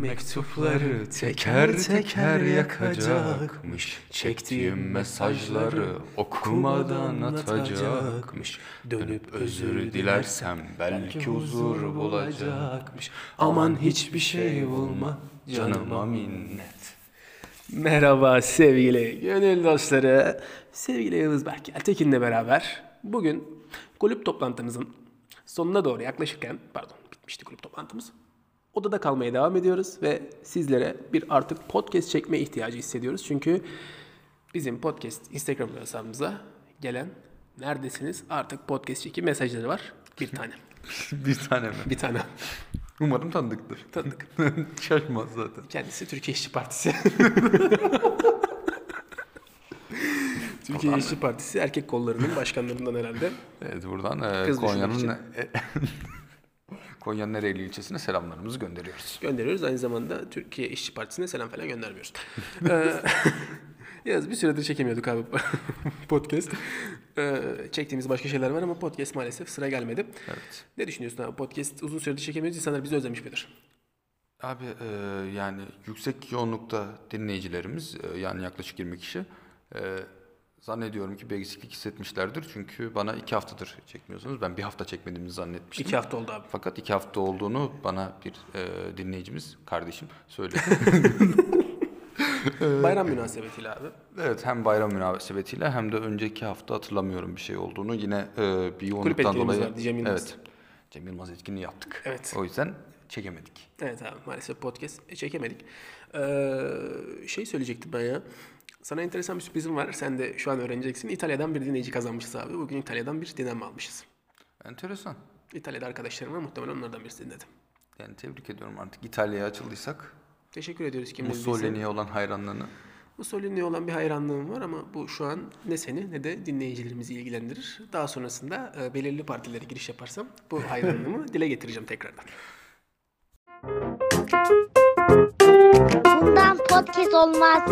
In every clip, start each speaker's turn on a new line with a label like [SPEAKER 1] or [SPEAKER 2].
[SPEAKER 1] Mektupları teker teker yakacakmış Çektiğim mesajları okumadan atacakmış Dönüp özür dilersem belki huzur bulacakmış Aman hiçbir şey olma canıma minnet
[SPEAKER 2] Merhaba sevgili gönül dostları. Sevgili Yavuz Berk Altekin'le beraber bugün kulüp toplantımızın sonuna doğru yaklaşırken, pardon bitmişti kulüp toplantımız. Odada kalmaya devam ediyoruz ve sizlere bir artık podcast çekme ihtiyacı hissediyoruz. Çünkü bizim podcast Instagram hesabımıza gelen neredesiniz artık podcast çeki mesajları var. Bir tane.
[SPEAKER 1] Bir tane mi?
[SPEAKER 2] Bir tane.
[SPEAKER 1] Umarım tanıdıktır.
[SPEAKER 2] Tanıdık.
[SPEAKER 1] Şaşmaz zaten.
[SPEAKER 2] Kendisi Türkiye İşçi Partisi. Türkiye İşçi Partisi erkek kollarının başkanlarından herhalde.
[SPEAKER 1] Evet buradan e,
[SPEAKER 2] Kız düşürmek için.
[SPEAKER 1] Konya'nın e, Konya'nın Ereğli ilçesine selamlarımızı gönderiyoruz.
[SPEAKER 2] Gönderiyoruz. Aynı zamanda Türkiye İşçi Partisi'ne selam falan göndermiyoruz. Ee, Yaz bir süredir çekemiyorduk abi podcast. Ee, çektiğimiz başka şeyler var ama podcast maalesef sıra gelmedi.
[SPEAKER 1] Evet.
[SPEAKER 2] Ne düşünüyorsun abi? Podcast uzun süredir çekemiyoruz. İnsanlar bizi özlemiş midir?
[SPEAKER 1] Abi e, yani yüksek yoğunlukta dinleyicilerimiz e, yani yaklaşık 20 kişi e, zannediyorum ki bir eksiklik hissetmişlerdir. Çünkü bana iki haftadır çekmiyorsunuz. Ben bir hafta çekmediğimi zannetmiştim.
[SPEAKER 2] İki hafta oldu abi.
[SPEAKER 1] Fakat iki hafta olduğunu bana bir e, dinleyicimiz, kardeşim söyledi.
[SPEAKER 2] Bayram münasebetiyle abi.
[SPEAKER 1] evet hem bayram münasebetiyle hem de önceki hafta hatırlamıyorum bir şey olduğunu. Yine e, bir yoğunluktan
[SPEAKER 2] etkinliğimiz
[SPEAKER 1] dolayı.
[SPEAKER 2] vardı, Cem Yılmaz.
[SPEAKER 1] Evet. Cem Yılmaz etkinliği yaptık.
[SPEAKER 2] Evet.
[SPEAKER 1] O yüzden çekemedik.
[SPEAKER 2] Evet abi maalesef podcast e, çekemedik. Ee, şey söyleyecektim ben ya. Sana enteresan bir sürprizim var. Sen de şu an öğreneceksin. İtalya'dan bir dinleyici kazanmışız abi. Bugün İtalya'dan bir dinlenme almışız.
[SPEAKER 1] Enteresan.
[SPEAKER 2] İtalya'da arkadaşlarım var. Muhtemelen onlardan birisi dinledim.
[SPEAKER 1] Yani tebrik ediyorum artık İtalya'ya açıldıysak
[SPEAKER 2] Teşekkür ediyoruz kim dinlediyse.
[SPEAKER 1] Mussolini'ye olan hayranlığını.
[SPEAKER 2] Mussolini'ye olan bir hayranlığım var ama bu şu an ne seni ne de dinleyicilerimizi ilgilendirir. Daha sonrasında e, belirli partilere giriş yaparsam bu hayranlığımı dile getireceğim tekrardan.
[SPEAKER 3] Bundan podcast olmaz.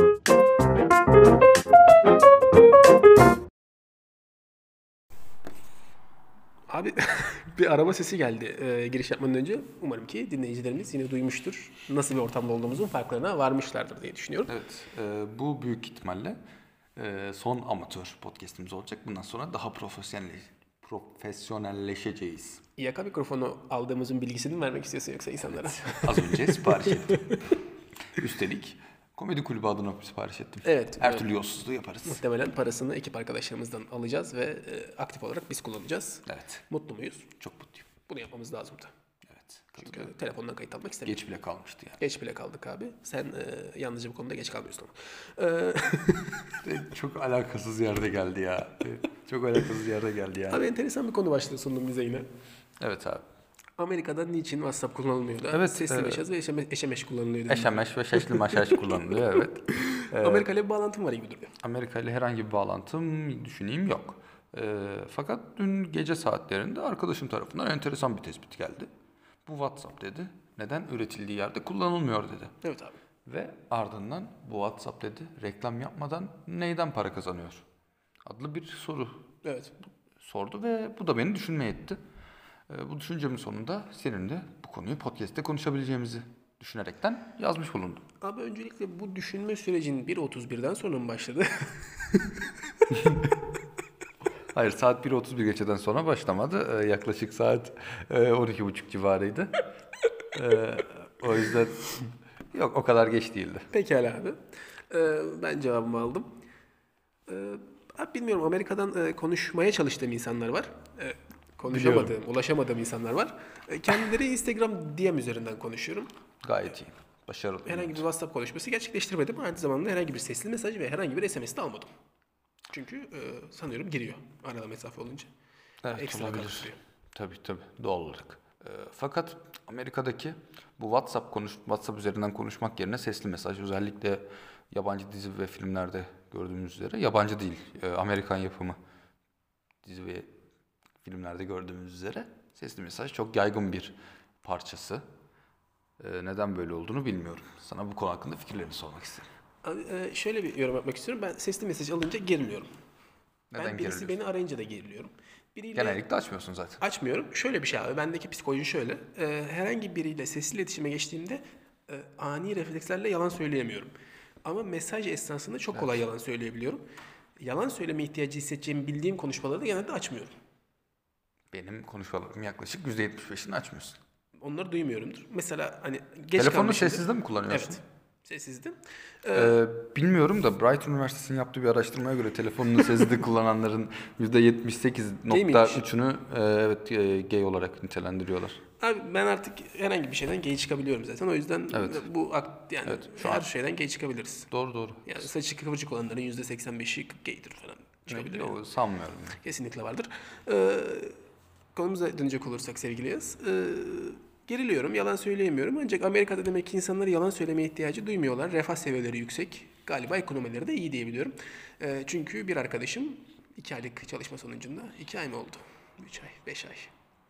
[SPEAKER 2] Abi bir araba sesi geldi e, giriş yapmadan önce. Umarım ki dinleyicilerimiz yine duymuştur. Nasıl bir ortamda olduğumuzun farklarına varmışlardır diye düşünüyorum.
[SPEAKER 1] Evet, e, bu büyük ihtimalle e, son amatör podcast'imiz olacak. Bundan sonra daha profesyonel profesyonelleşeceğiz.
[SPEAKER 2] Yaka mikrofonu aldığımızın bilgisini mi vermek istiyorsun yoksa insanlara?
[SPEAKER 1] Az önce sipariş ettim. Üstelik komedi kulübü adına sipariş ettim.
[SPEAKER 2] Evet,
[SPEAKER 1] Her
[SPEAKER 2] evet.
[SPEAKER 1] türlü yolsuzluğu yaparız.
[SPEAKER 2] Muhtemelen parasını ekip arkadaşlarımızdan alacağız ve e, aktif olarak biz kullanacağız.
[SPEAKER 1] Evet,
[SPEAKER 2] Mutlu muyuz?
[SPEAKER 1] çok mutluyum.
[SPEAKER 2] Bunu yapmamız lazımdı.
[SPEAKER 1] Evet,
[SPEAKER 2] Çünkü
[SPEAKER 1] katılıyorum.
[SPEAKER 2] telefondan kayıt almak istemiyorum.
[SPEAKER 1] Geç bile kalmıştı yani.
[SPEAKER 2] Geç bile kaldık abi. Sen e, yalnızca bu konuda geç kalmıyorsun ama. E,
[SPEAKER 1] Çok alakasız yerde geldi ya. Çok alakasız yerde geldi yani.
[SPEAKER 2] abi enteresan bir konu başlığı sundun bize yine.
[SPEAKER 1] Evet abi.
[SPEAKER 2] Amerika'da niçin WhatsApp kullanılmıyordu?
[SPEAKER 1] Evet,
[SPEAKER 2] Sesli
[SPEAKER 1] evet.
[SPEAKER 2] mesaj ve eşeme- eşemeş kullanılıyordu.
[SPEAKER 1] Eşemeş ve şeşli maşaş kullanılıyor evet.
[SPEAKER 2] Amerika ile bir bağlantım var gibi duruyor.
[SPEAKER 1] Amerika ile herhangi bir bağlantım düşüneyim yok. Ee, fakat dün gece saatlerinde arkadaşım tarafından enteresan bir tespit geldi. Bu WhatsApp dedi. Neden üretildiği yerde kullanılmıyor dedi.
[SPEAKER 2] Evet abi.
[SPEAKER 1] Ve ardından bu WhatsApp dedi reklam yapmadan neyden para kazanıyor? Adlı bir soru
[SPEAKER 2] Evet.
[SPEAKER 1] sordu ve bu da beni düşünmeye etti. Ee, bu düşüncemin sonunda senin de bu konuyu podcast'te konuşabileceğimizi düşünerekten yazmış bulundum.
[SPEAKER 2] Abi öncelikle bu düşünme sürecinin 1.31'den sonra mı başladı?
[SPEAKER 1] Hayır saat 1.31 geçeden sonra başlamadı. Ee, yaklaşık saat e, 12.30 civarıydı. Ee, o yüzden yok o kadar geç değildi.
[SPEAKER 2] Pekala abi. Ee, ben cevabımı aldım. Ee, abi bilmiyorum Amerika'dan e, konuşmaya çalıştığım insanlar var. Ee, konuşamadığım, ulaşamadığım insanlar var. Ee, kendileri Instagram DM üzerinden konuşuyorum.
[SPEAKER 1] Gayet iyi. Başarılı.
[SPEAKER 2] Herhangi bir WhatsApp konuşması gerçekleştirmedim. Aynı zamanda herhangi bir sesli mesaj ve herhangi bir SMS de almadım. Çünkü e, sanıyorum giriyor arada mesafe olunca.
[SPEAKER 1] Evet,
[SPEAKER 2] Ekstra
[SPEAKER 1] olabilir.
[SPEAKER 2] karıştırıyor.
[SPEAKER 1] Tabii tabii doğal olarak. Ee, fakat Amerika'daki bu WhatsApp konuş WhatsApp üzerinden konuşmak yerine sesli mesaj özellikle yabancı dizi ve filmlerde gördüğümüz üzere yabancı değil e, Amerikan yapımı dizi ve filmlerde gördüğümüz üzere sesli mesaj çok yaygın bir parçası. Ee, neden böyle olduğunu bilmiyorum. Sana bu konu hakkında fikirlerini sormak isterim.
[SPEAKER 2] Abi, e, şöyle bir yorum yapmak istiyorum. Ben sesli mesaj alınca geriliyorum.
[SPEAKER 1] Neden
[SPEAKER 2] ben birisi
[SPEAKER 1] geriliyorsun?
[SPEAKER 2] beni arayınca da geriliyorum. Biriyle
[SPEAKER 1] Genellikle açmıyorsun zaten.
[SPEAKER 2] açmıyorum. Şöyle bir şey abi. Bendeki psikoloji şöyle. Ee, herhangi biriyle sesli iletişime geçtiğimde e, ani reflekslerle yalan söyleyemiyorum. Ama mesaj esnasında çok kolay yalan söyleyebiliyorum. Yalan söyleme ihtiyacı hissedeceğimi bildiğim konuşmaları da genelde açmıyorum.
[SPEAKER 1] Benim konuşmalarım yaklaşık %75'ini açmıyorsun.
[SPEAKER 2] Onları duymuyorumdur. Mesela hani geç
[SPEAKER 1] Telefonunu
[SPEAKER 2] kalmışımdır.
[SPEAKER 1] sessizde mi kullanıyorsun?
[SPEAKER 2] Evet. Sessizdim.
[SPEAKER 1] Ee, bilmiyorum da Brighton Üniversitesi'nin yaptığı bir araştırmaya göre telefonunu sezdi kullananların %78.3'ünü e, evet e, gay olarak nitelendiriyorlar.
[SPEAKER 2] Abi ben artık herhangi bir şeyden gay çıkabiliyorum zaten. O yüzden bu ak- yani
[SPEAKER 1] şu
[SPEAKER 2] her şeyden gay çıkabiliriz.
[SPEAKER 1] Doğru doğru.
[SPEAKER 2] Yani saçı kıvırcık olanların %85'i gaydir falan çıkabilir. yani.
[SPEAKER 1] Yo, sanmıyorum.
[SPEAKER 2] Kesinlikle vardır. Ee, konumuza dönecek olursak sevgili Yaz. ee, geriliyorum, yalan söyleyemiyorum. Ancak Amerika'da demek ki insanlar yalan söylemeye ihtiyacı duymuyorlar. Refah seviyeleri yüksek. Galiba ekonomileri de iyi diyebiliyorum. Ee, çünkü bir arkadaşım iki aylık çalışma sonucunda, iki ay mı oldu? Üç ay, beş ay.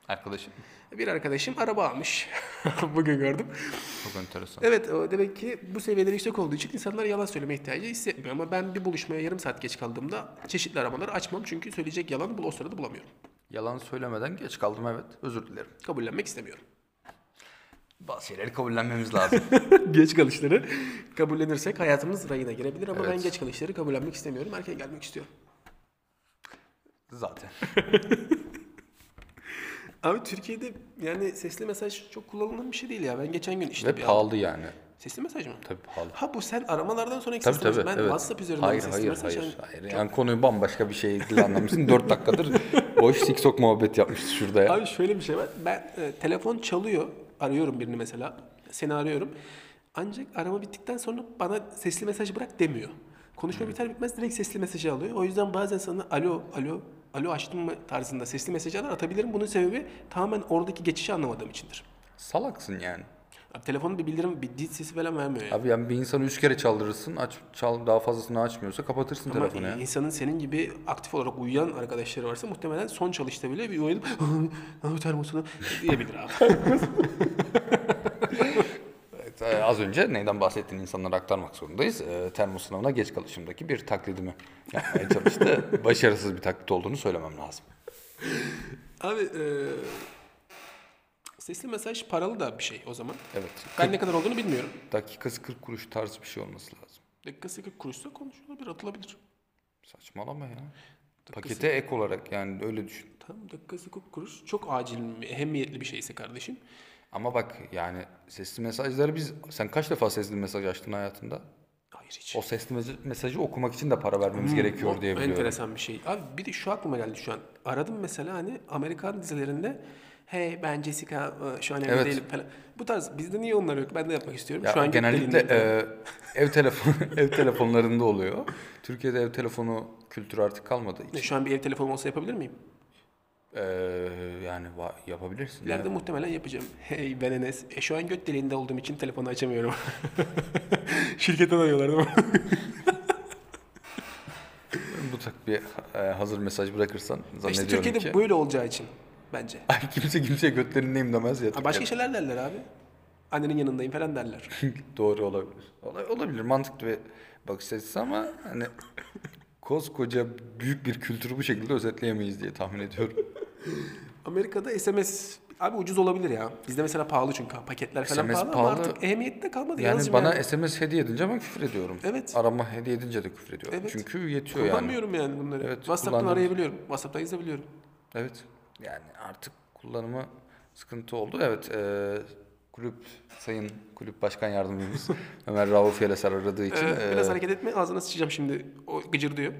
[SPEAKER 1] Arkadaşım
[SPEAKER 2] Bir arkadaşım araba almış. Bugün gördüm.
[SPEAKER 1] çok enteresan.
[SPEAKER 2] Evet o demek ki bu seviyeleri yüksek olduğu için insanlar yalan söyleme ihtiyacı hissetmiyor. Ama ben bir buluşmaya yarım saat geç kaldığımda çeşitli aramaları açmam. Çünkü söyleyecek yalanı bul- o sırada bulamıyorum.
[SPEAKER 1] Yalan söylemeden geç kaldım evet. Özür dilerim.
[SPEAKER 2] Kabullenmek istemiyorum.
[SPEAKER 1] Bazı şeyleri kabullenmemiz lazım.
[SPEAKER 2] geç kalışları kabullenirsek hayatımız rayına girebilir ama ben
[SPEAKER 1] Evet.
[SPEAKER 2] geç kalışları kabullenmek istemiyorum. Erken gelmek istiyorum.
[SPEAKER 1] Zaten.
[SPEAKER 2] Abi Türkiye'de yani sesli mesaj çok kullanılan bir şey değil ya. Ben geçen gün işte
[SPEAKER 1] Ve
[SPEAKER 2] bir
[SPEAKER 1] pahalı yani.
[SPEAKER 2] Sesli mesaj mı?
[SPEAKER 1] Tabii pahalı.
[SPEAKER 2] Ha bu sen aramalardan sonraki
[SPEAKER 1] Tabii
[SPEAKER 2] sesli
[SPEAKER 1] tabii.
[SPEAKER 2] mesaj. Ben
[SPEAKER 1] evet.
[SPEAKER 2] WhatsApp üzerinden
[SPEAKER 1] hayır,
[SPEAKER 2] sesli
[SPEAKER 1] hayır,
[SPEAKER 2] mesaj.
[SPEAKER 1] Hayır,
[SPEAKER 2] yani-
[SPEAKER 1] hayır. Yani konuyu bambaşka bir şeyle anlamışsın. 4 dakikadır boş TikTok muhabbeti yapmışız şurada ya.
[SPEAKER 2] Abi şöyle bir şey var. Ben e, telefon çalıyor. Arıyorum birini mesela. Seni arıyorum. Ancak arama bittikten sonra bana sesli mesaj bırak demiyor. Konuşma biter bitmez direkt sesli mesajı alıyor. O yüzden bazen sana alo, alo, alo açtın mı tarzında sesli mesajlar atabilirim. Bunun sebebi tamamen oradaki geçişi anlamadığım içindir.
[SPEAKER 1] Salaksın yani.
[SPEAKER 2] Abi telefonun bir bildirim, bir dil sesi falan vermiyor. Yani.
[SPEAKER 1] Abi yani bir insanı 3 kere çaldırırsın. Aç, çal, daha fazlasını açmıyorsa kapatırsın
[SPEAKER 2] Ama
[SPEAKER 1] telefonu ya.
[SPEAKER 2] insanın senin gibi aktif olarak uyuyan arkadaşları varsa muhtemelen son çalışta bile bir uyanıp "Ah, termosunu diyebilir abi.
[SPEAKER 1] Evet, e, az önce neyden bahsettiğini insanlara aktarmak zorundayız. E, termo sınavına geç kalışımdaki bir taklidimi yapmaya çalıştı. Başarısız bir taklit olduğunu söylemem lazım.
[SPEAKER 2] Abi eee, sesli mesaj paralı da bir şey o zaman.
[SPEAKER 1] Evet.
[SPEAKER 2] Ben ne kadar olduğunu bilmiyorum.
[SPEAKER 1] Dakikası 40 kuruş tarzı bir şey olması lazım.
[SPEAKER 2] Dakikası 40 kuruşsa konuşulabilir, atılabilir.
[SPEAKER 1] Saçmalama ya. Pakete ek olarak yani öyle düşün.
[SPEAKER 2] Tamam dakikası 40 kuruş çok acil mi, ehemmiyetli bir şeyse kardeşim.
[SPEAKER 1] Ama bak yani sesli mesajları biz... Sen kaç defa sesli mesaj açtın hayatında?
[SPEAKER 2] Hayır hiç.
[SPEAKER 1] O sesli mesaj- mesajı okumak için de para vermemiz gerekiyor diye biliyorum.
[SPEAKER 2] Hmm, Enteresan bir şey. Abi bir de şu aklıma geldi şu an. Aradım mesela hani Amerikan dizilerinde hey ben Jessica e, şu an evde
[SPEAKER 1] Evet.
[SPEAKER 2] değilim falan. Bu tarz bizde niye onlar yok? Ben de yapmak istiyorum.
[SPEAKER 1] Ya
[SPEAKER 2] şu an
[SPEAKER 1] genellikle e, ev telefon ev telefonlarında oluyor. Türkiye'de ev telefonu kültürü artık kalmadı.
[SPEAKER 2] Ne, şu an bir ev telefonum olsa yapabilir miyim?
[SPEAKER 1] E, yani va- yapabilirsin.
[SPEAKER 2] İleride muhtemelen yapacağım. Hey ben Enes. E, şu an göt deliğinde olduğum için telefonu açamıyorum. Şirketten arıyorlar değil mi?
[SPEAKER 1] Yani Bu tak bir e, hazır mesaj bırakırsan
[SPEAKER 2] işte
[SPEAKER 1] zannediyorum
[SPEAKER 2] Türkiye'de
[SPEAKER 1] ki.
[SPEAKER 2] böyle olacağı için bence.
[SPEAKER 1] Ay kimse kimseye götlerindeyim demez ya.
[SPEAKER 2] Ha, başka şeyler derler abi. Annenin yanındayım falan derler.
[SPEAKER 1] Türkiye'de. Doğru olabilir. Olay- Olabilir mantıklı bir bakış açısı ama hani koskoca büyük bir kültürü bu şekilde özetleyemeyiz diye tahmin ediyorum.
[SPEAKER 2] Amerika'da SMS abi ucuz olabilir ya. Bizde mesela pahalı çünkü paketler falan
[SPEAKER 1] SMS
[SPEAKER 2] pahalı, ama
[SPEAKER 1] pahalı.
[SPEAKER 2] artık ehemmiyeti de kalmadı.
[SPEAKER 1] Yani
[SPEAKER 2] Yalnızca
[SPEAKER 1] bana
[SPEAKER 2] yani.
[SPEAKER 1] SMS hediye edince ben küfür ediyorum.
[SPEAKER 2] Evet.
[SPEAKER 1] Arama hediye edince de küfür ediyorum.
[SPEAKER 2] Evet.
[SPEAKER 1] Çünkü yetiyor yani.
[SPEAKER 2] kullanmıyorum yani, bunları.
[SPEAKER 1] Evet,
[SPEAKER 2] WhatsApp'tan
[SPEAKER 1] kullandım.
[SPEAKER 2] arayabiliyorum. WhatsApp'tan yazabiliyorum.
[SPEAKER 1] Evet. Yani artık kullanımı sıkıntı oldu. Evet. eee, kulüp sayın kulüp başkan yardımcımız Ömer Rauf Yelesar aradığı için. e,
[SPEAKER 2] Ee, biraz
[SPEAKER 1] eee,
[SPEAKER 2] hareket etme ağzına sıçacağım şimdi. O gıcır diyor.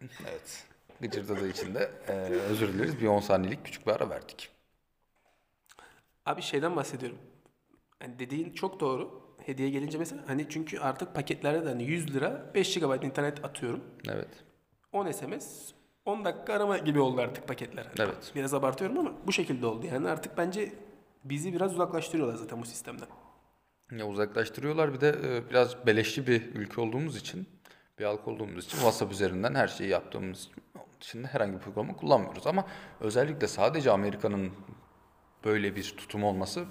[SPEAKER 1] evet. Gıcırdadığı için de eee, özür dileriz. Bir 10 saniyelik küçük bir ara verdik.
[SPEAKER 2] Abi şeyden bahsediyorum. Hani dediğin çok doğru. Hediye gelince mesela hani çünkü artık paketlerde de hani 100 lira 5 GB internet atıyorum.
[SPEAKER 1] Evet.
[SPEAKER 2] 10 SMS 10 dakika arama gibi oldu artık paketler. Hani
[SPEAKER 1] Evet.
[SPEAKER 2] Biraz abartıyorum ama bu şekilde oldu yani artık bence bizi biraz uzaklaştırıyorlar zaten bu sistemden.
[SPEAKER 1] Ya uzaklaştırıyorlar bir de eee, biraz beleşli bir ülke olduğumuz için bir halk olduğumuz için WhatsApp üzerinden her şeyi yaptığımız için onun dışında herhangi bir programı kullanmıyoruz. Ama özellikle sadece Amerika'nın böyle bir tutum olması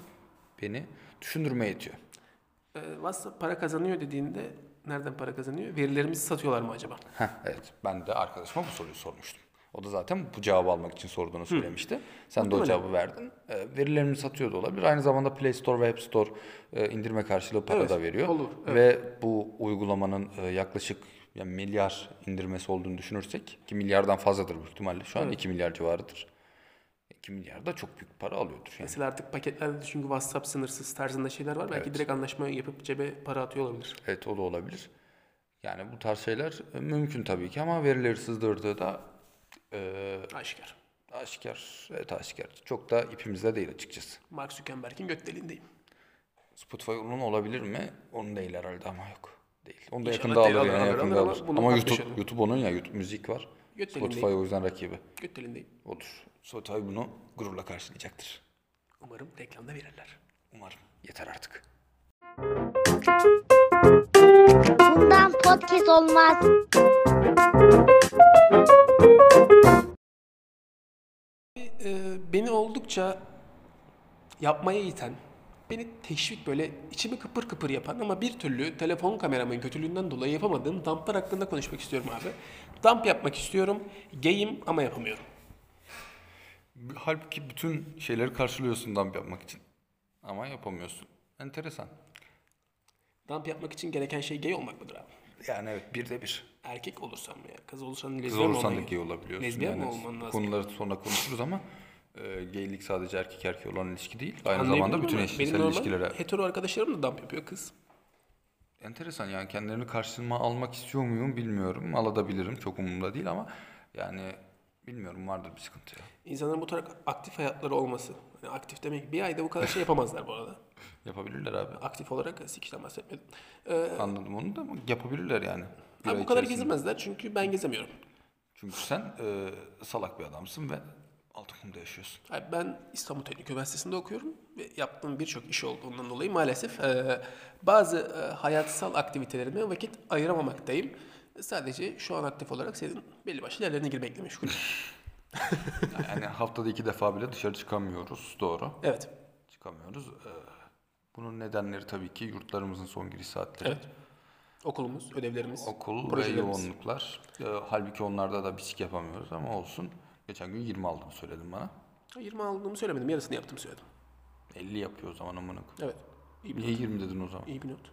[SPEAKER 1] beni düşündürmeye itiyor.
[SPEAKER 2] Ee, WhatsApp para kazanıyor dediğinde nereden para kazanıyor? Verilerimizi satıyorlar mı acaba?
[SPEAKER 1] Heh, evet. Ben de arkadaşıma bu soruyu sormuştum. O da zaten bu cevabı almak için sorduğunu söylemişti. Sen de o
[SPEAKER 2] Muhtemelen.
[SPEAKER 1] cevabı verdin. E, verilerimi satıyor da olabilir. Aynı zamanda Play Store ve App Store e, indirme karşılığı para
[SPEAKER 2] Evet,
[SPEAKER 1] da veriyor.
[SPEAKER 2] olur,
[SPEAKER 1] Ve bu uygulamanın e, yaklaşık yani milyar indirmesi olduğunu düşünürsek ki milyardan fazladır büyük ihtimalle. Şu an 2 milyar civarıdır. 2 milyar da çok büyük para alıyordur. Yani.
[SPEAKER 2] Mesela artık paketlerde de çünkü WhatsApp sınırsız tarzında şeyler var. Belki direkt anlaşma yapıp cebe para atıyor olabilir.
[SPEAKER 1] Evet o da olabilir. Yani bu tarz şeyler e, mümkün tabii ki ama verileri sızdırdığı da e,
[SPEAKER 2] Aşikar.
[SPEAKER 1] aşikar, evet aşikar. Çok da ipimizde değil açıkçası.
[SPEAKER 2] Mark Zuckerberg'in göt deliğindeyim.
[SPEAKER 1] Spotify onun olabilir mi? Onun değil herhalde ama yok. Değil. Onu da
[SPEAKER 2] İnşallah
[SPEAKER 1] yakında
[SPEAKER 2] değil,
[SPEAKER 1] alır
[SPEAKER 2] alır,
[SPEAKER 1] yani
[SPEAKER 2] alır,
[SPEAKER 1] yakında
[SPEAKER 2] alır ama
[SPEAKER 1] alır.
[SPEAKER 2] bunu
[SPEAKER 1] Ama YouTube,
[SPEAKER 2] tartışalım.
[SPEAKER 1] YouTube onun ya YouTube müzik var.
[SPEAKER 2] Göt deliği
[SPEAKER 1] Spotify o yüzden rakibi.
[SPEAKER 2] Göt deliğindeyim.
[SPEAKER 1] Odur. Spotify bunu gururla karşılayacaktır.
[SPEAKER 2] Umarım reklamda verirler.
[SPEAKER 1] Umarım. Yeter artık.
[SPEAKER 3] Bundan podcast olmaz.
[SPEAKER 2] Ee, beni oldukça yapmaya iten, beni teşvik böyle içimi kıpır kıpır yapan ama bir türlü telefon kameramın kötülüğünden dolayı yapamadığım damplar hakkında konuşmak istiyorum abi. Damp yapmak istiyorum, geyim ama yapamıyorum.
[SPEAKER 1] Halbuki bütün şeyleri karşılıyorsun dump yapmak için. Ama yapamıyorsun. Enteresan.
[SPEAKER 2] Damp yapmak için gereken şey gay olmak mıdır abi?
[SPEAKER 1] Yani evet bir de bir.
[SPEAKER 2] Erkek olursam mı ya? Kız olursam
[SPEAKER 1] Kız
[SPEAKER 2] lezbiyen mi
[SPEAKER 1] olursan da
[SPEAKER 2] olman
[SPEAKER 1] gay
[SPEAKER 2] gerekiyor?
[SPEAKER 1] olabiliyorsun.
[SPEAKER 2] Lezbiyen mi
[SPEAKER 1] Yani
[SPEAKER 2] olman lazım?
[SPEAKER 1] Konuları sonra konuşuruz ama e, gaylik sadece erkek erkeğe olan ilişki değil. Aynı
[SPEAKER 2] Anlayabiliyor
[SPEAKER 1] zamanda bütün
[SPEAKER 2] muyum?
[SPEAKER 1] eşcinsel
[SPEAKER 2] Benim normal
[SPEAKER 1] ilişkilere.
[SPEAKER 2] hetero arkadaşlarım da damp yapıyor kız.
[SPEAKER 1] Enteresan yani kendilerini karşıma almak istiyor muyum bilmiyorum. Alabilirim çok umurumda değil ama yani bilmiyorum vardır bir sıkıntı ya.
[SPEAKER 2] İnsanların bu tarz aktif hayatları olması. Hani aktif demek bir ayda bu kadar şey yapamazlar bu arada.
[SPEAKER 1] Yapabilirler abi.
[SPEAKER 2] Aktif olarak e, sikişten bahsetmedim. Ee,
[SPEAKER 1] Anladım onu da ama yapabilirler yani. Bir
[SPEAKER 2] Abi
[SPEAKER 1] ay
[SPEAKER 2] bu kadar
[SPEAKER 1] içerisinde.
[SPEAKER 2] gezilmezler çünkü ben gezemiyorum.
[SPEAKER 1] Çünkü sen e, salak bir adamsın ve Altınkum'da yaşıyorsun.
[SPEAKER 2] Abi ben İstanbul Teknik Üniversitesi'nde okuyorum ve yaptığım birçok iş olduğundan dolayı maalesef e, bazı e, hayatsal aktivitelerime vakit ayıramamaktayım. Sadece şu an aktif olarak senin belli başlı yerlerine girmekle meşgulüm.
[SPEAKER 1] Yani haftada iki defa bile dışarı çıkamıyoruz. Doğru.
[SPEAKER 2] evet.
[SPEAKER 1] Çıkamıyoruz. Ee, bunun nedenleri tabii ki yurtlarımızın son giriş saatleri.
[SPEAKER 2] Evet. Okulumuz, ödevlerimiz,
[SPEAKER 1] Okul ve
[SPEAKER 2] projelerimiz.
[SPEAKER 1] yoğunluklar. Ee, halbuki onlarda da bisik yapamıyoruz ama olsun. Geçen gün 20 aldığını söyledin bana.
[SPEAKER 2] 20 aldığımı söylemedim. Yarısını yaptım söyledim.
[SPEAKER 1] 50 yapıyor o zaman amına koyayım.
[SPEAKER 2] Evet. İyi bir,
[SPEAKER 1] Niye 20 dedin o zaman?
[SPEAKER 2] iyi bir not.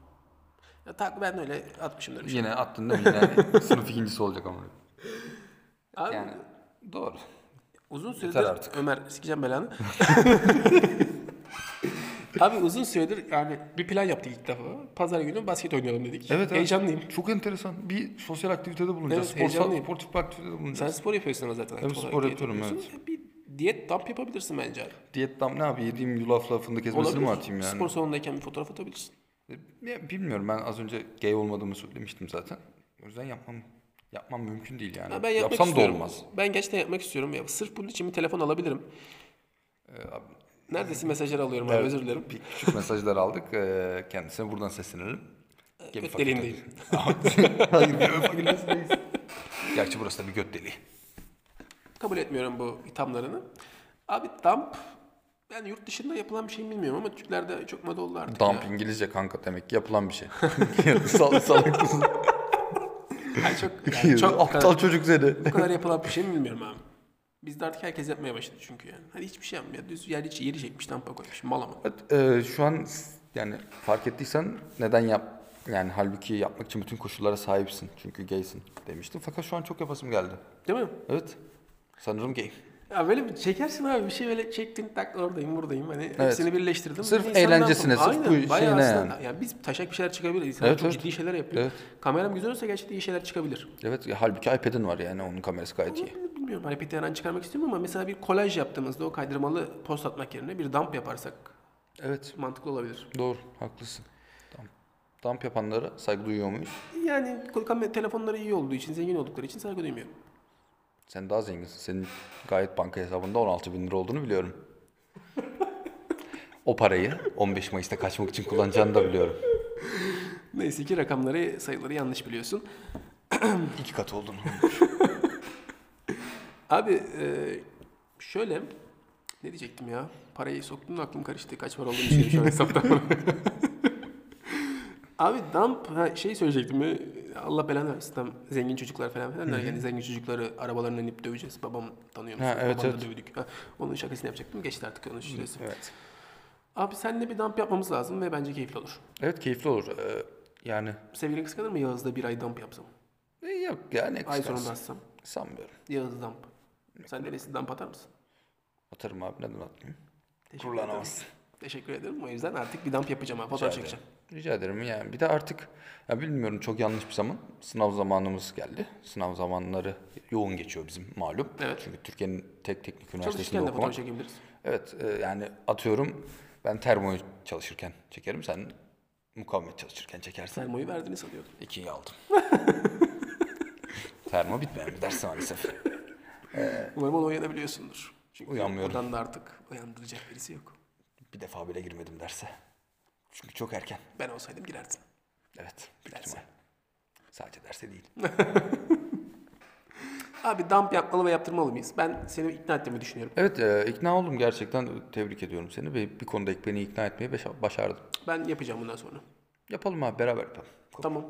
[SPEAKER 2] Ya, tak, ben öyle atmışımdır. bir şey.
[SPEAKER 1] Yine attın değil mi? Yine sınıf ikincisi olacak ama.
[SPEAKER 2] Abi,
[SPEAKER 1] Yani doğru.
[SPEAKER 2] Uzun süredir
[SPEAKER 1] Yeter artık.
[SPEAKER 2] Ömer sikeceğim belanı. Abi uzun süredir yani bir plan yaptık ilk defa. Pazar günü basket oynayalım dedik. Heyecanlıyım.
[SPEAKER 1] Çok enteresan. Bir sosyal aktivitede bulunacağız.
[SPEAKER 2] Evet, heyecanlıyım.
[SPEAKER 1] Sportif bir aktivitede bulunacağız.
[SPEAKER 2] Sen spor yapıyorsun ama zaten.
[SPEAKER 1] Evet, spor yapıyorum,
[SPEAKER 2] evet. Bir diyet dump yapabilirsin bence. abi.
[SPEAKER 1] Diyet tam ne abi? Yediğim yulafla fındık ezmesini mi
[SPEAKER 2] Olabilir.
[SPEAKER 1] atayım yani?
[SPEAKER 2] Spor salonundayken bir fotoğraf atabilirsin.
[SPEAKER 1] E, ya Bilmiyorum ben az önce gay olmadığımı söylemiştim zaten. O yüzden yapmam yapmam mümkün değil yani.
[SPEAKER 2] Ha, ben yapmak
[SPEAKER 1] Yapsam
[SPEAKER 2] istiyorum.
[SPEAKER 1] da olmaz.
[SPEAKER 2] Ben gerçekten yapmak istiyorum. Ya, sırf bunun için bir telefon alabilirim.
[SPEAKER 1] Ee,
[SPEAKER 2] Neredesin mesajları alıyorum abi özür dilerim.
[SPEAKER 1] Bir küçük mesajlar aldık. E, Kendisine buradan seslenelim. Gemi
[SPEAKER 2] göt deliğindeyim.
[SPEAKER 1] fakültesi. Hayır gemi fakültesindeyiz. Gerçi burası da bir göt deliği.
[SPEAKER 2] Kabul etmiyorum bu ithamlarını. Abi dump yani yurt dışında yapılan bir şey bilmiyorum ama Türklerde çok moda oldu artık.
[SPEAKER 1] Dump İngilizce kanka demek ki yapılan bir şey. Sal, salak mısın?
[SPEAKER 2] Yani çok, yani çok
[SPEAKER 1] aptal çocuk seni.
[SPEAKER 2] bu kadar yapılan bir şey mi bilmiyorum abi. Bizde artık herkes yapmaya başladı çünkü yani. Hani hiçbir şey yapmıyor. Düz yer içi yeri çekmiş dampa koymuş. Mal ama.
[SPEAKER 1] Evet, e, şu an s- yani fark ettiysen neden yap yani halbuki yapmak için bütün koşullara sahipsin çünkü gaysin demiştim fakat şu an çok yapasım geldi.
[SPEAKER 2] Değil mi?
[SPEAKER 1] Evet. Sanırım gay.
[SPEAKER 2] Ya böyle bir çekersin abi bir şey böyle çektin tak oradayım buradayım hani hepsini birleştirdim.
[SPEAKER 1] Sırf
[SPEAKER 2] Bir insan
[SPEAKER 1] eğlencesine,
[SPEAKER 2] dump-
[SPEAKER 1] sırf bu
[SPEAKER 2] Aynen, bayağı
[SPEAKER 1] şeyine
[SPEAKER 2] aslında- Yani biz taşak bir şeyler çıkabilir. İnsanlar
[SPEAKER 1] Evet,
[SPEAKER 2] çok
[SPEAKER 1] evet.
[SPEAKER 2] ciddi şeyler yapıyor.
[SPEAKER 1] Evet.
[SPEAKER 2] Kameram güzel olsa gerçekten iyi şeyler çıkabilir.
[SPEAKER 1] Evet ya, halbuki iPad'in var yani onun kamerası gayet iyi.
[SPEAKER 2] Bilmiyorum hani Peter Yaran çıkarmak istiyorum ama mesela bir kolaj yaptığımızda o kaydırmalı post atmak yerine bir dump yaparsak
[SPEAKER 1] Evet
[SPEAKER 2] mantıklı olabilir.
[SPEAKER 1] doğru haklısın. Dump, dump yapanlara saygı duyuyor muyuz?
[SPEAKER 2] Yani kam- telefonları iyi olduğu için, zengin oldukları için saygı duymuyorum.
[SPEAKER 1] Sen daha zenginsin. Senin gayet banka hesabında 16 bin lira olduğunu biliyorum. O parayı 15 Mayıs'ta kaçmak için kullanacağını da biliyorum.
[SPEAKER 2] Neyse ki rakamları, sayıları yanlış biliyorsun.
[SPEAKER 1] İki kat oldun.
[SPEAKER 2] Abi e, şöyle ne diyecektim ya? Parayı soktum da aklım karıştı. Kaç para olduğunu düşünüyorum şu an hesapta. Abi dump ha, şey söyleyecektim. ya, Allah belanı versin. Tam zengin çocuklar falan filan derken zengin çocukları arabalarına inip döveceğiz. Babam tanıyor musun?
[SPEAKER 1] Ha, evet,
[SPEAKER 2] Babam da
[SPEAKER 1] evet.
[SPEAKER 2] dövdük. Ha, onun şakasını yapacaktım. Geçti artık onun şurası. Evet. Abi seninle bir dump yapmamız lazım ve bence keyifli olur.
[SPEAKER 1] Evet keyifli olur. Ee, yani
[SPEAKER 2] Sevgilin kıskanır mı Yağız'da bir ay dump yapsam?
[SPEAKER 1] e, yok yani
[SPEAKER 2] Ay
[SPEAKER 1] kıskansın.
[SPEAKER 2] sonunda atsam.
[SPEAKER 1] Sanmıyorum.
[SPEAKER 2] Yağız dump. Sen neresi dump atar mısın?
[SPEAKER 1] Atarım abi neden atmayayım?
[SPEAKER 2] Teşekkür
[SPEAKER 1] Kullanamazsın.
[SPEAKER 2] ederim. Teşekkür ederim. O yüzden artık bir dump yapacağım abi. Fotoğraf çekeceğim.
[SPEAKER 1] Rica ederim yani. Bir de artık ya bilmiyorum çok yanlış bir zaman. Sınav zamanımız geldi. Sınav zamanları yoğun geçiyor bizim malum.
[SPEAKER 2] Evet.
[SPEAKER 1] Çünkü Türkiye'nin tek teknik üniversitesinde
[SPEAKER 2] Çalışırken de fotoğraf
[SPEAKER 1] okumak.
[SPEAKER 2] çekebiliriz.
[SPEAKER 1] Evet e, yani atıyorum ben termoyu çalışırken çekerim. Sen mukavemet çalışırken çekersen.
[SPEAKER 2] Selmo'yu verdiğini sanıyordum.
[SPEAKER 1] İkiyi aldım. Termo bitmeyen bir ders maalesef.
[SPEAKER 2] Umarım onu uyanabiliyorsundur. Çünkü
[SPEAKER 1] Uyanmıyorum.
[SPEAKER 2] Buradan da artık uyandıracak birisi yok.
[SPEAKER 1] Bir defa bile girmedim derse. Çünkü çok erken.
[SPEAKER 2] Ben olsaydım girerdim.
[SPEAKER 1] Evet. büyük
[SPEAKER 2] Derse.
[SPEAKER 1] ihtimal. Sadece derse değil.
[SPEAKER 2] Abi dump yapmalı ve yaptırmalı mıyız? Ben seni ikna ettiğimi düşünüyorum.
[SPEAKER 1] Evet e, ikna oldum gerçekten tebrik ediyorum seni ve bir konuda beni ikna etmeyi beşa- başardın.
[SPEAKER 2] Ben yapacağım bundan sonra.
[SPEAKER 1] Yapalım abi beraber yapalım.
[SPEAKER 2] Tamam.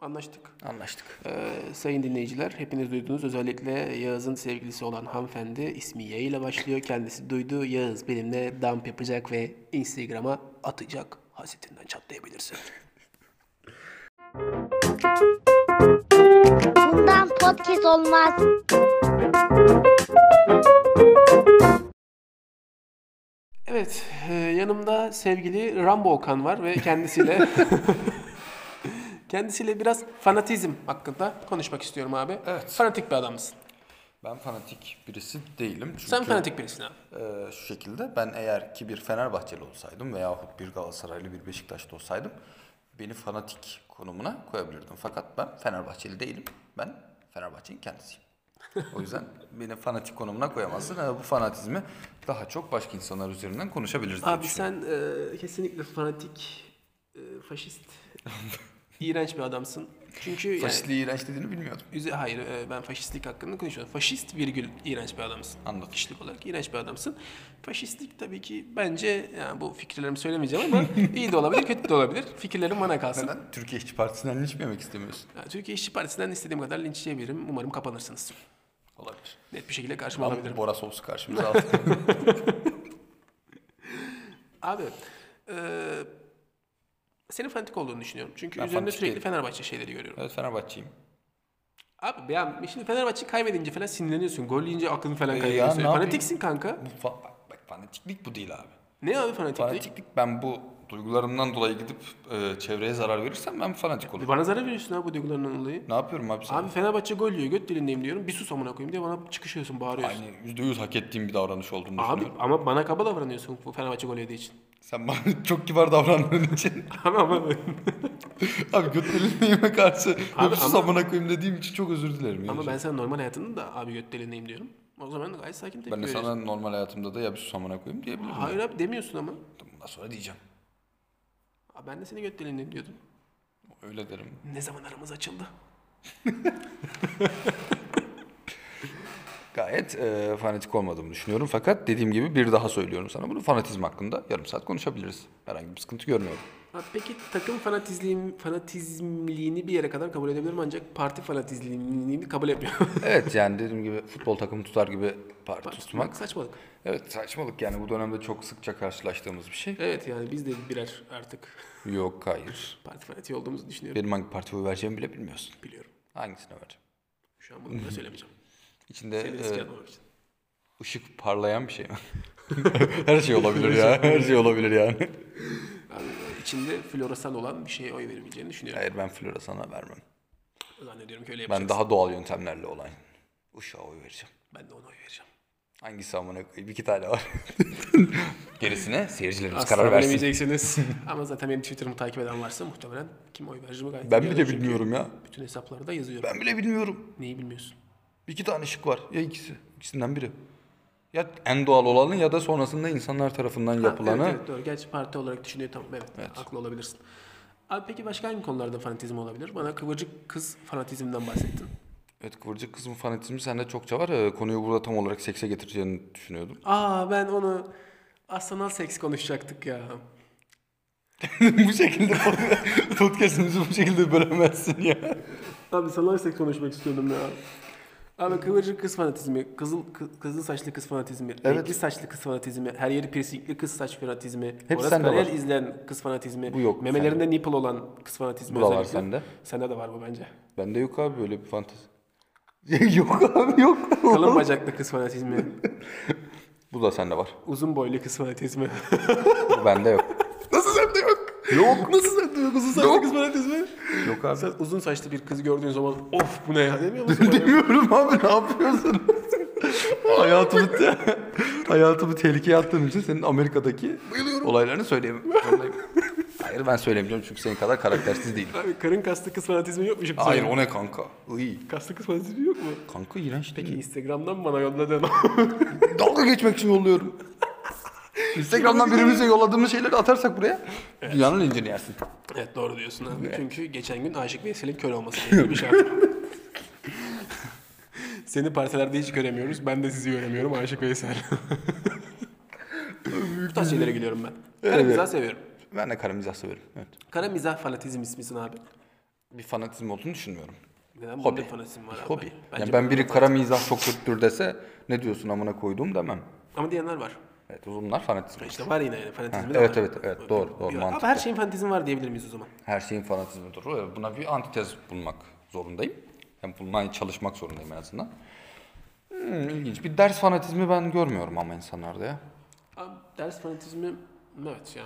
[SPEAKER 2] Anlaştık.
[SPEAKER 1] Anlaştık.
[SPEAKER 2] Ee, sayın dinleyiciler hepiniz duydunuz. Özellikle Yağız'ın sevgilisi olan hanımefendi ismi Y ile başlıyor. Kendisi duydu. Yağız benimle dump yapacak ve Instagram'a atacak. Hasetinden çatlayabilirsin.
[SPEAKER 3] Bundan podcast olmaz.
[SPEAKER 2] Evet, e, yanımda sevgili Rambo Okan var ve kendisiyle kendisiyle biraz fanatizm hakkında konuşmak istiyorum abi. Evet. Fanatik bir adamsın.
[SPEAKER 1] Ben fanatik birisi değilim. Çünkü,
[SPEAKER 2] Sen fanatik birisin abi.
[SPEAKER 1] e, şu şekilde ben eğer ki bir Fenerbahçeli olsaydım veyahut bir Galatasaraylı bir Beşiktaşlı olsaydım beni fanatik konumuna koyabilirdim. Fakat ben Fenerbahçeli değilim. Ben Fenerbahçe'nin kendisiyim. O yüzden beni fanatik konumuna koyamazsın. E, Bu fanatizmi daha çok başka insanlar üzerinden konuşabiliriz diye
[SPEAKER 2] Abi
[SPEAKER 1] düşünüyorum.
[SPEAKER 2] sen e, kesinlikle fanatik, e, faşist, iğrenç bir adamsın. Çünkü yani,
[SPEAKER 1] Faşistliği iğrenç dediğini bilmiyordum.
[SPEAKER 2] üze- hayır e, ben faşistlik hakkında konuşuyorum. Faşist virgül iğrenç bir adamsın.
[SPEAKER 1] Anladım.
[SPEAKER 2] Kişilik olarak iğrenç bir adamsın. Faşistlik tabii ki bence yani bu fikirlerimi söylemeyeceğim ama iyi de olabilir, kötü de olabilir. Fikirlerim bana kalsın.
[SPEAKER 1] Neden? Türkiye İşçi Partisi'nden hiç mi yemek istemiyorsun?
[SPEAKER 2] Ya, Türkiye İşçi Partisi'nden istediğim kadar linçleyebilirim. Umarım kapanırsınız.
[SPEAKER 1] Olabilir.
[SPEAKER 2] Net bir şekilde karşıma alabilirim.
[SPEAKER 1] Ama Bora Sosu karşımıza aldı.
[SPEAKER 2] Abi, e, senin fanatik olduğunu düşünüyorum. Çünkü
[SPEAKER 1] Ben
[SPEAKER 2] üzerinde
[SPEAKER 1] fanatik
[SPEAKER 2] sürekli
[SPEAKER 1] değilim.
[SPEAKER 2] Fenerbahçe şeyleri görüyorum.
[SPEAKER 1] evet Fenerbahçe'yim.
[SPEAKER 2] Abi ya şimdi Fenerbahçe kaybedince falan sinirleniyorsun. Gol yiyince aklını falan
[SPEAKER 1] E ya,
[SPEAKER 2] kaybediyorsun.
[SPEAKER 1] ne yapayım?
[SPEAKER 2] Fanatiksin kanka.
[SPEAKER 1] Bu fa- bak, bak fanatiklik bu değil abi.
[SPEAKER 2] Ne abi fanatiklik?
[SPEAKER 1] Fanatiklik ben bu duygularımdan dolayı gidip e, çevreye zarar verirsem ben fanatik olurum.
[SPEAKER 2] Bana zarar veriyorsun abi bu duygularının dolayı.
[SPEAKER 1] Ne yapıyorum abi sana?
[SPEAKER 2] Abi Fenerbahçe gol yiyor göt dilindeyim diyorum. Bir sus amına koyayım diye bana çıkışıyorsun bağırıyorsun.
[SPEAKER 1] Aynı %100 hak ettiğim bir davranış olduğunu
[SPEAKER 2] Abi
[SPEAKER 1] düşünüyorum.
[SPEAKER 2] ama bana kaba davranıyorsun bu Fenerbahçe gol yediği için.
[SPEAKER 1] Sen bana çok kibar davrandığın için.
[SPEAKER 2] Abi ama
[SPEAKER 1] abi götlerindeyime karşı
[SPEAKER 2] Abi
[SPEAKER 1] öpsüz
[SPEAKER 2] ama-
[SPEAKER 1] amına koyayım dediğim için çok özür dilerim. yani.
[SPEAKER 2] Ama ben sana normal hayatında da abi göt delindeyim diyorum. O zaman gayet sakin tepki
[SPEAKER 1] ben de
[SPEAKER 2] veriyorsun.
[SPEAKER 1] sana normal hayatımda da ya bir sus amına koyayım diyebilirim.
[SPEAKER 2] Hayır abi demiyorsun ama.
[SPEAKER 1] Bundan sonra diyeceğim.
[SPEAKER 2] Abi ben de seni göt delindeyim diyordum.
[SPEAKER 1] Öyle derim.
[SPEAKER 2] Ne zaman aramız açıldı?
[SPEAKER 1] Gayet e, fanatik olmadığımı düşünüyorum. Fakat dediğim gibi bir daha söylüyorum sana. Bunu fanatizm hakkında yarım saat konuşabiliriz. Herhangi bir sıkıntı görmüyorum.
[SPEAKER 2] Abi peki takım fanatizliğim, fanatizmliğini bir yere kadar kabul edebilirim ancak parti fanatizmliğini kabul etmiyorum.
[SPEAKER 1] evet yani dediğim gibi futbol takımı tutar gibi parti tutmak.
[SPEAKER 2] Saçmalık.
[SPEAKER 1] Evet saçmalık yani bu dönemde çok sıkça karşılaştığımız bir şey.
[SPEAKER 2] Evet yani biz de birer artık
[SPEAKER 1] Yok hayır.
[SPEAKER 2] parti fanatiği olduğumuzu düşünüyorum.
[SPEAKER 1] Benim hangi partiye oy vereceğimi bile bilmiyorsun.
[SPEAKER 2] Biliyorum.
[SPEAKER 1] Hangisine vereceğim?
[SPEAKER 2] Şu an bunu da söylemeyeceğim.
[SPEAKER 1] İçinde
[SPEAKER 2] Seni
[SPEAKER 1] e,
[SPEAKER 2] riske atmamak için.
[SPEAKER 1] ışık parlayan bir şey mi? Her şey olabilir ya. Her şey olabilir yani.
[SPEAKER 2] Abi, e, içinde floresan olan bir şeye oy verebileceğini düşünüyorum.
[SPEAKER 1] Hayır ben flora sana vermem.
[SPEAKER 2] Zannediyorum ki öyle
[SPEAKER 1] Ben
[SPEAKER 2] yapacaksın.
[SPEAKER 1] daha doğal yöntemlerle olan ışığa oy vereceğim.
[SPEAKER 2] Ben de, ona oy vereceğim.
[SPEAKER 1] Hangisi amına koyayım? İki tane var. Gerisine seyircilerimiz
[SPEAKER 2] Asla
[SPEAKER 1] karar versin.
[SPEAKER 2] bilemeyeceksiniz. Ama zaten benim Twitter'ımı takip eden varsa muhtemelen kim oy vereceğimi gayet iyi
[SPEAKER 1] Ben bile
[SPEAKER 2] biliyordur çünkü
[SPEAKER 1] bilmiyorum ya.
[SPEAKER 2] Bütün hesaplarda yazıyorum.
[SPEAKER 1] Ben bile bilmiyorum.
[SPEAKER 2] Neyi bilmiyorsun?
[SPEAKER 1] İki tane şık var. Ya ikisi. İkisinden biri. Ya en doğal olanı ya da sonrasında insanlar tarafından yapılanı.
[SPEAKER 2] Evet, evet, doğru. Gerçi parti olarak düşünüyor tamam evet, haklı olabilirsin. Abi peki başka hangi konularda fanatizm olabilir? Bana kıvırcık kız fanatizmden bahsettin.
[SPEAKER 1] Evet, kıvırcık kızın fanatizmi sende çokça var. Ee, Konuyu burada tam olarak sekse getireceğini düşünüyordum.
[SPEAKER 2] Aa ben onu aslanal seks konuşacaktık ya.
[SPEAKER 1] bu şekilde podcast'ımızı bu şekilde bölemezsin ya.
[SPEAKER 2] Abi salarsak konuşmak istiyordum ya. Abi kıvırcık kız fanatizmi, kızıl kı- kızıl saçlı kız fanatizmi,
[SPEAKER 1] Evet.
[SPEAKER 2] renkli saçlı kız fanatizmi, her yeri piercingli kız saç fanatizmi,
[SPEAKER 1] Hep
[SPEAKER 2] Horace
[SPEAKER 1] sende
[SPEAKER 2] Kariyer
[SPEAKER 1] var.
[SPEAKER 2] izleyen kız fanatizmi,
[SPEAKER 1] Bu yok
[SPEAKER 2] memelerinde nipple olan kız fanatizmi
[SPEAKER 1] Bu da var
[SPEAKER 2] özellikle.
[SPEAKER 1] sende.
[SPEAKER 2] Sende de var bu bence.
[SPEAKER 1] Bende yok abi böyle bir fantezi. yok abi yok.
[SPEAKER 2] Kalın bacaklı kız fanatizmi,
[SPEAKER 1] Bu da sende var.
[SPEAKER 2] uzun boylu kız fanatizmi.
[SPEAKER 1] Bu bende yok.
[SPEAKER 2] Nasıl sende yok?
[SPEAKER 1] Yok.
[SPEAKER 2] Nasıl sende yok uzun saçlı kız fanatizmi?
[SPEAKER 1] Yok abi.
[SPEAKER 2] Sen uzun saçlı bir kız gördüğün zaman of bu ne ya demiyor musun?
[SPEAKER 1] Demiyorum abi ne yapıyorsun? hayatımı, hayatımı tehlikeye attığın için senin Amerika'daki olaylarını söyleyemem. zorundayım. Hayır ben söylemeyeceğim çünkü senin kadar karaktersiz değilim.
[SPEAKER 2] Abi karın kaslı kız fanatizmi yok mu şimdi?
[SPEAKER 1] Hayır
[SPEAKER 2] senin?
[SPEAKER 1] o ne kanka? Iy.
[SPEAKER 2] Kaslı kız fanatizmi yok mu?
[SPEAKER 1] Kanka iğrenç
[SPEAKER 2] Ki
[SPEAKER 1] değil.
[SPEAKER 2] Instagram'dan bana yolladın.
[SPEAKER 1] Dalga geçmek için yolluyorum. Instagram'dan birimize yolladığımız şeyleri atarsak buraya dünyanın incini yersin.
[SPEAKER 2] evet doğru diyorsun abi. Çünkü geçen gün Aşık Veysel'in kör olması gerekli bir şart. Seni partilerde hiç göremiyoruz. Ben de sizi göremiyorum Aşık Veysel. Bu tarz şeylere gülüyorum ben. Kara mizah seviyorum.
[SPEAKER 1] Ben de kara mizah severim. Evet.
[SPEAKER 2] Kara mizah fanatizm ismisin abi.
[SPEAKER 1] Bir fanatizm olduğunu düşünmüyorum.
[SPEAKER 2] Neden
[SPEAKER 1] Hobi.
[SPEAKER 2] Hobi. fanatizm var abi?
[SPEAKER 1] Hobi.
[SPEAKER 2] Bence
[SPEAKER 1] yani ben biri kara mizah çok kötüdür dese ne diyorsun amına koyduğum demem.
[SPEAKER 2] Ama diyenler var.
[SPEAKER 1] Evet bunlar fanatizm.
[SPEAKER 2] İşte var yine yani fanatizmi
[SPEAKER 1] Ha,
[SPEAKER 2] de var.
[SPEAKER 1] evet, evet, evet. Doğru, doğru,
[SPEAKER 2] Abi
[SPEAKER 1] mantıklı.
[SPEAKER 2] her şeyin fanatizmi var diyebilir miyiz o zaman?
[SPEAKER 1] Her şeyin fanatizmi doğru. Buna bir antitez bulmak zorundayım. Yani bulmaya çalışmak zorundayım en azından. Hmm, ilginç. Bir ders fanatizmi ben görmüyorum ama insanlarda ya.
[SPEAKER 2] Abi ders fanatizmi evet ya.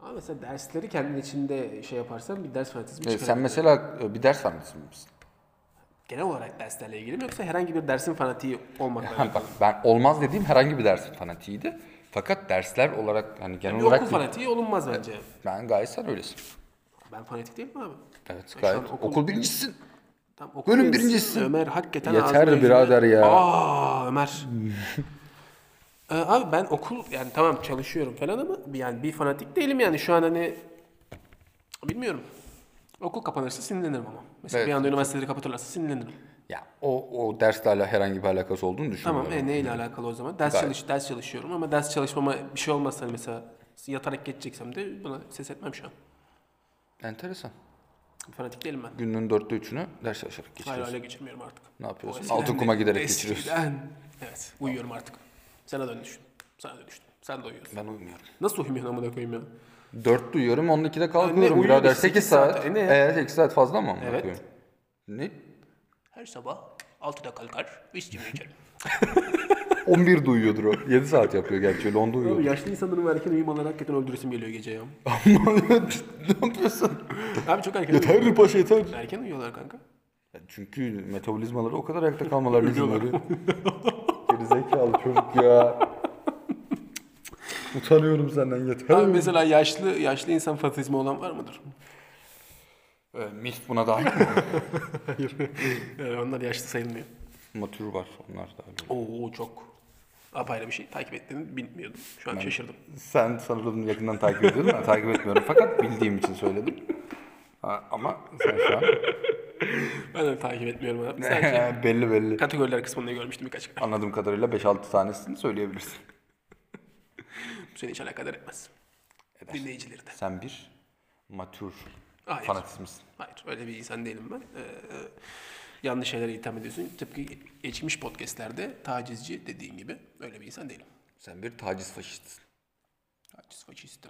[SPEAKER 2] Ama mesela dersleri kendin içinde şey yaparsan bir ders fanatizmi
[SPEAKER 1] Ee,
[SPEAKER 2] çıkar.
[SPEAKER 1] sen mesela e, bir ders fanatizmi misin?
[SPEAKER 2] Genel olarak derslerle ilgili mi yoksa herhangi bir dersin fanatiği olmakla
[SPEAKER 1] Ha,
[SPEAKER 2] alakalı?
[SPEAKER 1] Bak ben olmaz dediğim herhangi bir dersin fanatiğiydi. Fakat dersler olarak yani genel
[SPEAKER 2] Bir
[SPEAKER 1] olarak
[SPEAKER 2] okul fanatiği olunmaz bence.
[SPEAKER 1] ben gayet sen öylesin.
[SPEAKER 2] Ben fanatik değilim abi.
[SPEAKER 1] Evet
[SPEAKER 2] an
[SPEAKER 1] gayet.
[SPEAKER 2] okul-
[SPEAKER 1] Okul, birincisisin.
[SPEAKER 2] Tam okul
[SPEAKER 1] Bölüm
[SPEAKER 2] mevzusu.
[SPEAKER 1] birincisisin.
[SPEAKER 2] Ömer hakikaten
[SPEAKER 1] Yeter
[SPEAKER 2] ağzına
[SPEAKER 1] be
[SPEAKER 2] yüzüne-
[SPEAKER 1] birader ya.
[SPEAKER 2] Aa Ömer. Ee, abi ben okul yani tamam çalışıyorum falan ama yani bir fanatik değilim yani şu an hani bilmiyorum. Okul kapanırsa sinirlenirim ama. Mesela
[SPEAKER 1] Evet.
[SPEAKER 2] bir anda üniversiteleri kapatırlarsa sinirlenirim.
[SPEAKER 1] Ya o o derslerle herhangi bir alakası olduğunu düşünmüyorum.
[SPEAKER 2] Tamam e neyle alakalı o zaman? Ders
[SPEAKER 1] Gayet.
[SPEAKER 2] çalış ders çalışıyorum ama ders çalışmama bir şey olmazsa hani mesela yatarak geçeceksem de buna ses etmem şu an.
[SPEAKER 1] Enteresan.
[SPEAKER 2] Fanatik değilim ben.
[SPEAKER 1] Günün dörtte üçünü ders çalışarak
[SPEAKER 2] Hayır
[SPEAKER 1] geçiriyorsun.
[SPEAKER 2] öyle geçirmiyorum artık.
[SPEAKER 1] Ne yapıyorsun?
[SPEAKER 2] Eskiden
[SPEAKER 1] Altın
[SPEAKER 2] de-
[SPEAKER 1] kuma giderek geçiriyorsun.
[SPEAKER 2] Eskiden. Evet uyuyorum artık. Sana dön düşün. Sana dön düşün. Sen de uyuyorsun.
[SPEAKER 1] Ben uyumuyorum.
[SPEAKER 2] Nasıl uyumuyorsun amına koyayım ya?
[SPEAKER 1] Dört duyuyorum, 12'de
[SPEAKER 2] Ya ne,
[SPEAKER 1] kalkıyorum
[SPEAKER 2] uyuyor
[SPEAKER 1] birader.
[SPEAKER 2] işte,
[SPEAKER 1] 8
[SPEAKER 2] sekiz saat.
[SPEAKER 1] saat.
[SPEAKER 2] E ne?
[SPEAKER 1] Evet, 8 saat fazla mı?
[SPEAKER 2] Evet.
[SPEAKER 1] Bakıyorum. Ne?
[SPEAKER 2] Her sabah 6'da kalkar, viskimi içerim.
[SPEAKER 1] 11 duyuyordur o. 7 saat yapıyor gerçi. öyle, Onda uyuyor.
[SPEAKER 2] yaşlı insanların bu erken uyumaları hakikaten öldüresim geliyor gece ya.
[SPEAKER 1] ne yapıyorsun?
[SPEAKER 2] Abi çok erken
[SPEAKER 1] Yeter
[SPEAKER 2] uyuyorlar.
[SPEAKER 1] mi paşa yeter.
[SPEAKER 2] Erken uyuyorlar kanka.
[SPEAKER 1] Çünkü metabolizmaları o kadar ayakta kalmalarını izin veriyor. Gerizekalı çocuk ya. Utanıyorum senden yeter
[SPEAKER 2] Abi mesela yaşlı yaşlı insan fanatizmi olan var mıdır?
[SPEAKER 1] Ee, Milf buna dahil mi?
[SPEAKER 2] Ee, onlar yaşlı sayılmıyor.
[SPEAKER 1] Matür var onlar da. öyle.
[SPEAKER 2] Oo çok. Apayrı bir şey. Takip ettiğini bilmiyordum. Şu an şaşırdım.
[SPEAKER 1] Sen sanırım yakından takip ediyordun. Ben takip etmiyorum fakat bildiğim için söyledim. Ha, ama sen şu an
[SPEAKER 2] Ben de takip etmiyorum abi. Sadece
[SPEAKER 1] belli belli.
[SPEAKER 2] kategoriler kısmında görmüştüm birkaç kere.
[SPEAKER 1] Anladığım kadarıyla 5-6 tanesini söyleyebilirsin.
[SPEAKER 2] Bu seni hiç alakadar etmez. E, Dinleyicileri de.
[SPEAKER 1] Sen bir matür
[SPEAKER 2] Hayır.
[SPEAKER 1] fanatizmisin.
[SPEAKER 2] Hayır öyle bir insan değilim ben. Ee, yanlış şeylere itham ediyorsun. Tıpkı geçmiş podcastlerde tacizci dediğin gibi öyle bir insan değilim.
[SPEAKER 1] Sen bir taciz faşistisin.
[SPEAKER 2] Taciz faşisti.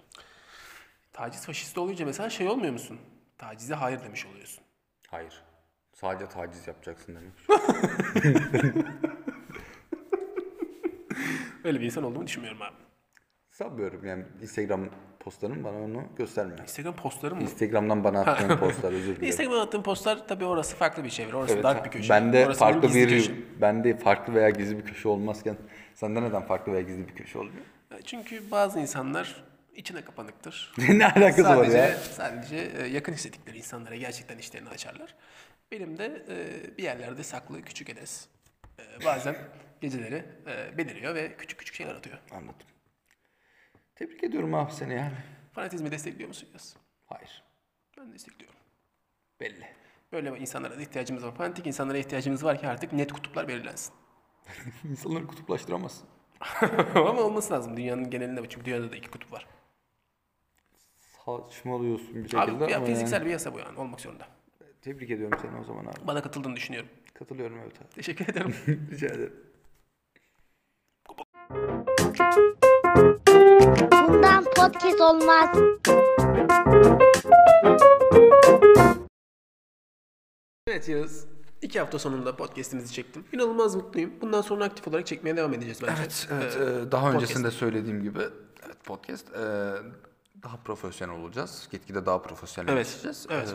[SPEAKER 2] Taciz faşisti olunca mesela şey olmuyor musun? Tacize hayır demiş oluyorsun.
[SPEAKER 1] Hayır. Sadece taciz yapacaksın demek.
[SPEAKER 2] Öyle bir insan olduğumu düşünmüyorum abi.
[SPEAKER 1] Sanmıyorum yani Instagram postlarım bana onu göstermiyor.
[SPEAKER 2] Instagram postlarım mı?
[SPEAKER 1] Instagram'dan bana attığın postlar özür dilerim.
[SPEAKER 2] Instagram'a attığım postlar tabii orası farklı bir çevre. Orası
[SPEAKER 1] Evet,
[SPEAKER 2] dark bir köşe.
[SPEAKER 1] Bende
[SPEAKER 2] orası benim
[SPEAKER 1] farklı
[SPEAKER 2] gizli
[SPEAKER 1] bir
[SPEAKER 2] köşem.
[SPEAKER 1] bende farklı veya gizli bir köşe olmazken sende neden farklı veya gizli bir köşe oluyor?
[SPEAKER 2] Çünkü bazı insanlar içine kapanıktır.
[SPEAKER 1] ne alakası var
[SPEAKER 2] sadece,
[SPEAKER 1] ya?
[SPEAKER 2] sadece e, yakın hissettikleri insanlara gerçekten işlerini açarlar. Benim de e, bir yerlerde saklı küçük edes. E, bazen geceleri e, beliriyor ve küçük küçük şeyler atıyor.
[SPEAKER 1] Anladım. Tebrik ediyorum abi seni yani.
[SPEAKER 2] Fanatizmi destekliyor musun Yas?
[SPEAKER 1] Hayır.
[SPEAKER 2] Ben destekliyorum.
[SPEAKER 1] Belli.
[SPEAKER 2] Böyle insanlara da ihtiyacımız var. Fanatik insanlara ihtiyacımız var ki artık net kutuplar belirlensin.
[SPEAKER 1] İnsanları kutuplaştıramazsın.
[SPEAKER 2] Ama olması lazım dünyanın genelinde. Çünkü dünyada da iki kutup var.
[SPEAKER 1] saçmalıyorsun bir şekilde.
[SPEAKER 2] Abi ya
[SPEAKER 1] ama
[SPEAKER 2] fiziksel
[SPEAKER 1] yani.
[SPEAKER 2] bir yasa bu yani olmak zorunda.
[SPEAKER 1] Tebrik ediyorum seni o zaman abi.
[SPEAKER 2] Bana katıldığını düşünüyorum.
[SPEAKER 1] Katılıyorum evet abi.
[SPEAKER 2] Teşekkür ederim.
[SPEAKER 1] Rica ederim.
[SPEAKER 3] Bundan podcast olmaz.
[SPEAKER 2] evet Yağız. İki hafta sonunda podcastimizi çektim. İnanılmaz mutluyum. Bundan sonra aktif olarak çekmeye devam edeceğiz bence. Ee,
[SPEAKER 1] Evet, evet e, daha öncesinde söylediğim gibi evet, podcast e, daha profesyonel olacağız. Gitgide daha profesyonel
[SPEAKER 2] Evet,
[SPEAKER 1] olacağız.
[SPEAKER 2] evet.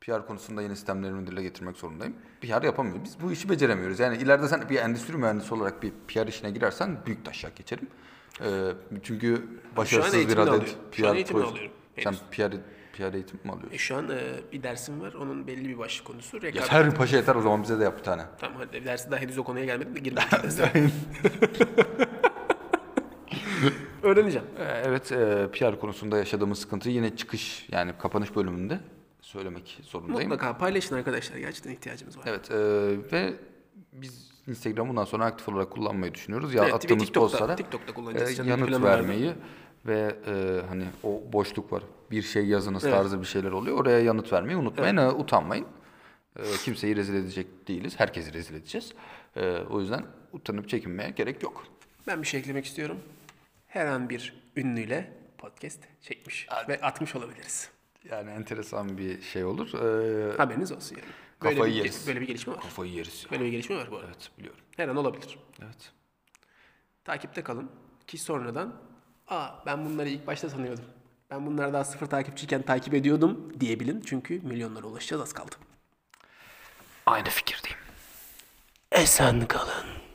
[SPEAKER 1] PR konusunda yeni sistemlerimi dile getirmek zorundayım. PR yapamıyoruz. Biz bu işi beceremiyoruz. Yani ileride sen bir endüstri mühendisi olarak bir PR işine girersen büyük taşak geçerim. E, çünkü başarısız bir
[SPEAKER 2] eğitimini
[SPEAKER 1] adet
[SPEAKER 2] alıyorum.
[SPEAKER 1] PR
[SPEAKER 2] Şu an eğitimini
[SPEAKER 1] proje-
[SPEAKER 2] alıyorum.
[SPEAKER 1] Sen PR, PR eğitim mi
[SPEAKER 2] E,
[SPEAKER 1] alıyorsun?
[SPEAKER 2] Şu an e, bir dersim var. Onun belli bir başlık konusu. Rekabet.
[SPEAKER 1] Yeter paşa yeter o zaman bize de yap bir tane.
[SPEAKER 2] Tamam hadi dersi daha henüz o konuya gelmedim de girmedim. Öğreneceğim.
[SPEAKER 1] Ee, Evet, e, PR konusunda yaşadığımız sıkıntıyı yine çıkış yani kapanış bölümünde söylemek zorundayım.
[SPEAKER 2] Mutlaka paylaşın arkadaşlar. Gerçekten ihtiyacımız var.
[SPEAKER 1] Evet e, ve biz Instagram'ı bundan sonra aktif olarak kullanmayı düşünüyoruz. Ya
[SPEAKER 2] Evet, bir
[SPEAKER 1] attığımız
[SPEAKER 2] TikTok'ta-
[SPEAKER 1] postlara e,
[SPEAKER 2] TikTok'ta kullanacağız. Canım
[SPEAKER 1] yanıt
[SPEAKER 2] planı vardı.
[SPEAKER 1] vermeyi ve e, hani o boşluk var. Bir şey yazınız tarzı bir şeyler oluyor. Oraya yanıt vermeyi unutmayın, e, utanmayın. E, kimseyi rezil edecek değiliz. Herkesi rezil edeceğiz. E, o yüzden utanıp çekinmeye gerek yok.
[SPEAKER 2] Ben bir şey eklemek istiyorum. Her an bir ünlüyle podcast çekmiş ve atmış olabiliriz.
[SPEAKER 1] Yani enteresan bir şey olur. E,
[SPEAKER 2] Haberiniz olsun yani. Böyle
[SPEAKER 1] Kafayı
[SPEAKER 2] bir,
[SPEAKER 1] yeriz.
[SPEAKER 2] Böyle bir gelişme var.
[SPEAKER 1] kafayı yeriz. ya.
[SPEAKER 2] Böyle bir gelişme var bu arada.
[SPEAKER 1] Evet biliyorum.
[SPEAKER 2] Her an olabilir.
[SPEAKER 1] Evet.
[SPEAKER 2] Takipte kalın ki sonradan aa ben bunları ilk başta sanıyordum. Ben bunları daha sıfır takipçiyken takip ediyordum diyebilin. Çünkü milyonlara ulaşacağız az kaldı.
[SPEAKER 1] Aynı fikirdeyim.
[SPEAKER 2] Esen kalın.